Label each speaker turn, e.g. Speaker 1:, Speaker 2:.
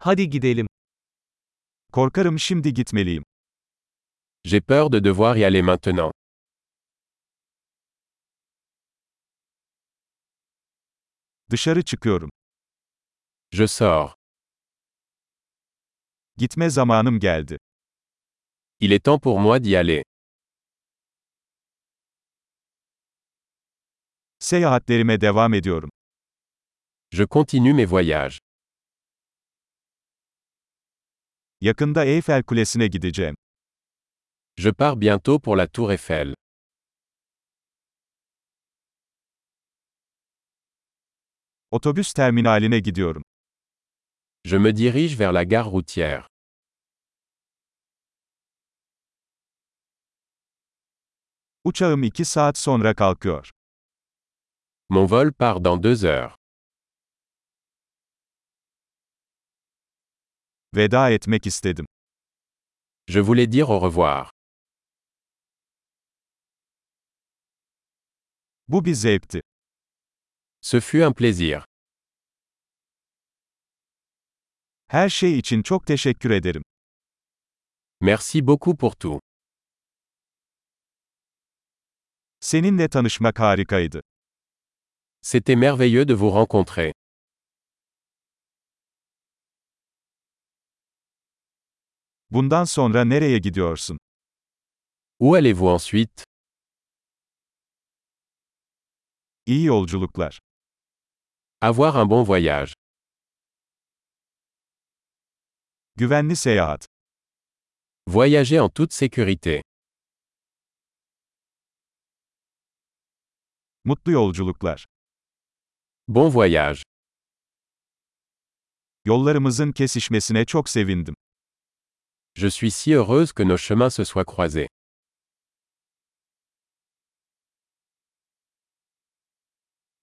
Speaker 1: Hadi gidelim. Korkarım şimdi gitmeliyim.
Speaker 2: J'ai peur de devoir y aller maintenant.
Speaker 1: Dışarı çıkıyorum.
Speaker 2: Je sors.
Speaker 1: Gitme zamanım geldi.
Speaker 2: Il est temps pour moi d'y aller.
Speaker 1: Seyahatlerime devam ediyorum.
Speaker 2: Je continue mes voyages.
Speaker 1: Yakında Eyfel Kulesi'ne gideceğim.
Speaker 2: Je pars bientôt pour la Tour Eiffel.
Speaker 1: Otobüs terminaline gidiyorum.
Speaker 2: Je me dirige vers la gare routière.
Speaker 1: Uçağım 2 saat sonra kalkıyor.
Speaker 2: Mon vol part dans deux heures.
Speaker 1: Veda etmek istedim.
Speaker 2: Je voulais dire au revoir.
Speaker 1: Bu bir zevkti.
Speaker 2: Ce fut un plaisir.
Speaker 1: Her şey için çok teşekkür ederim.
Speaker 2: Merci beaucoup pour tout.
Speaker 1: Seninle tanışmak harikaydı.
Speaker 2: C'était merveilleux de vous rencontrer.
Speaker 1: Bundan sonra nereye gidiyorsun?
Speaker 2: Où allez-vous ensuite
Speaker 1: İyi yolculuklar.
Speaker 2: Avoir un bon voyage.
Speaker 1: Güvenli seyahat.
Speaker 2: Voyager en toute sécurité.
Speaker 1: Mutlu yolculuklar.
Speaker 2: Bon voyage.
Speaker 1: Yollarımızın kesişmesine çok sevindim.
Speaker 2: Je suis si heureuse que nos chemins se soient croisés.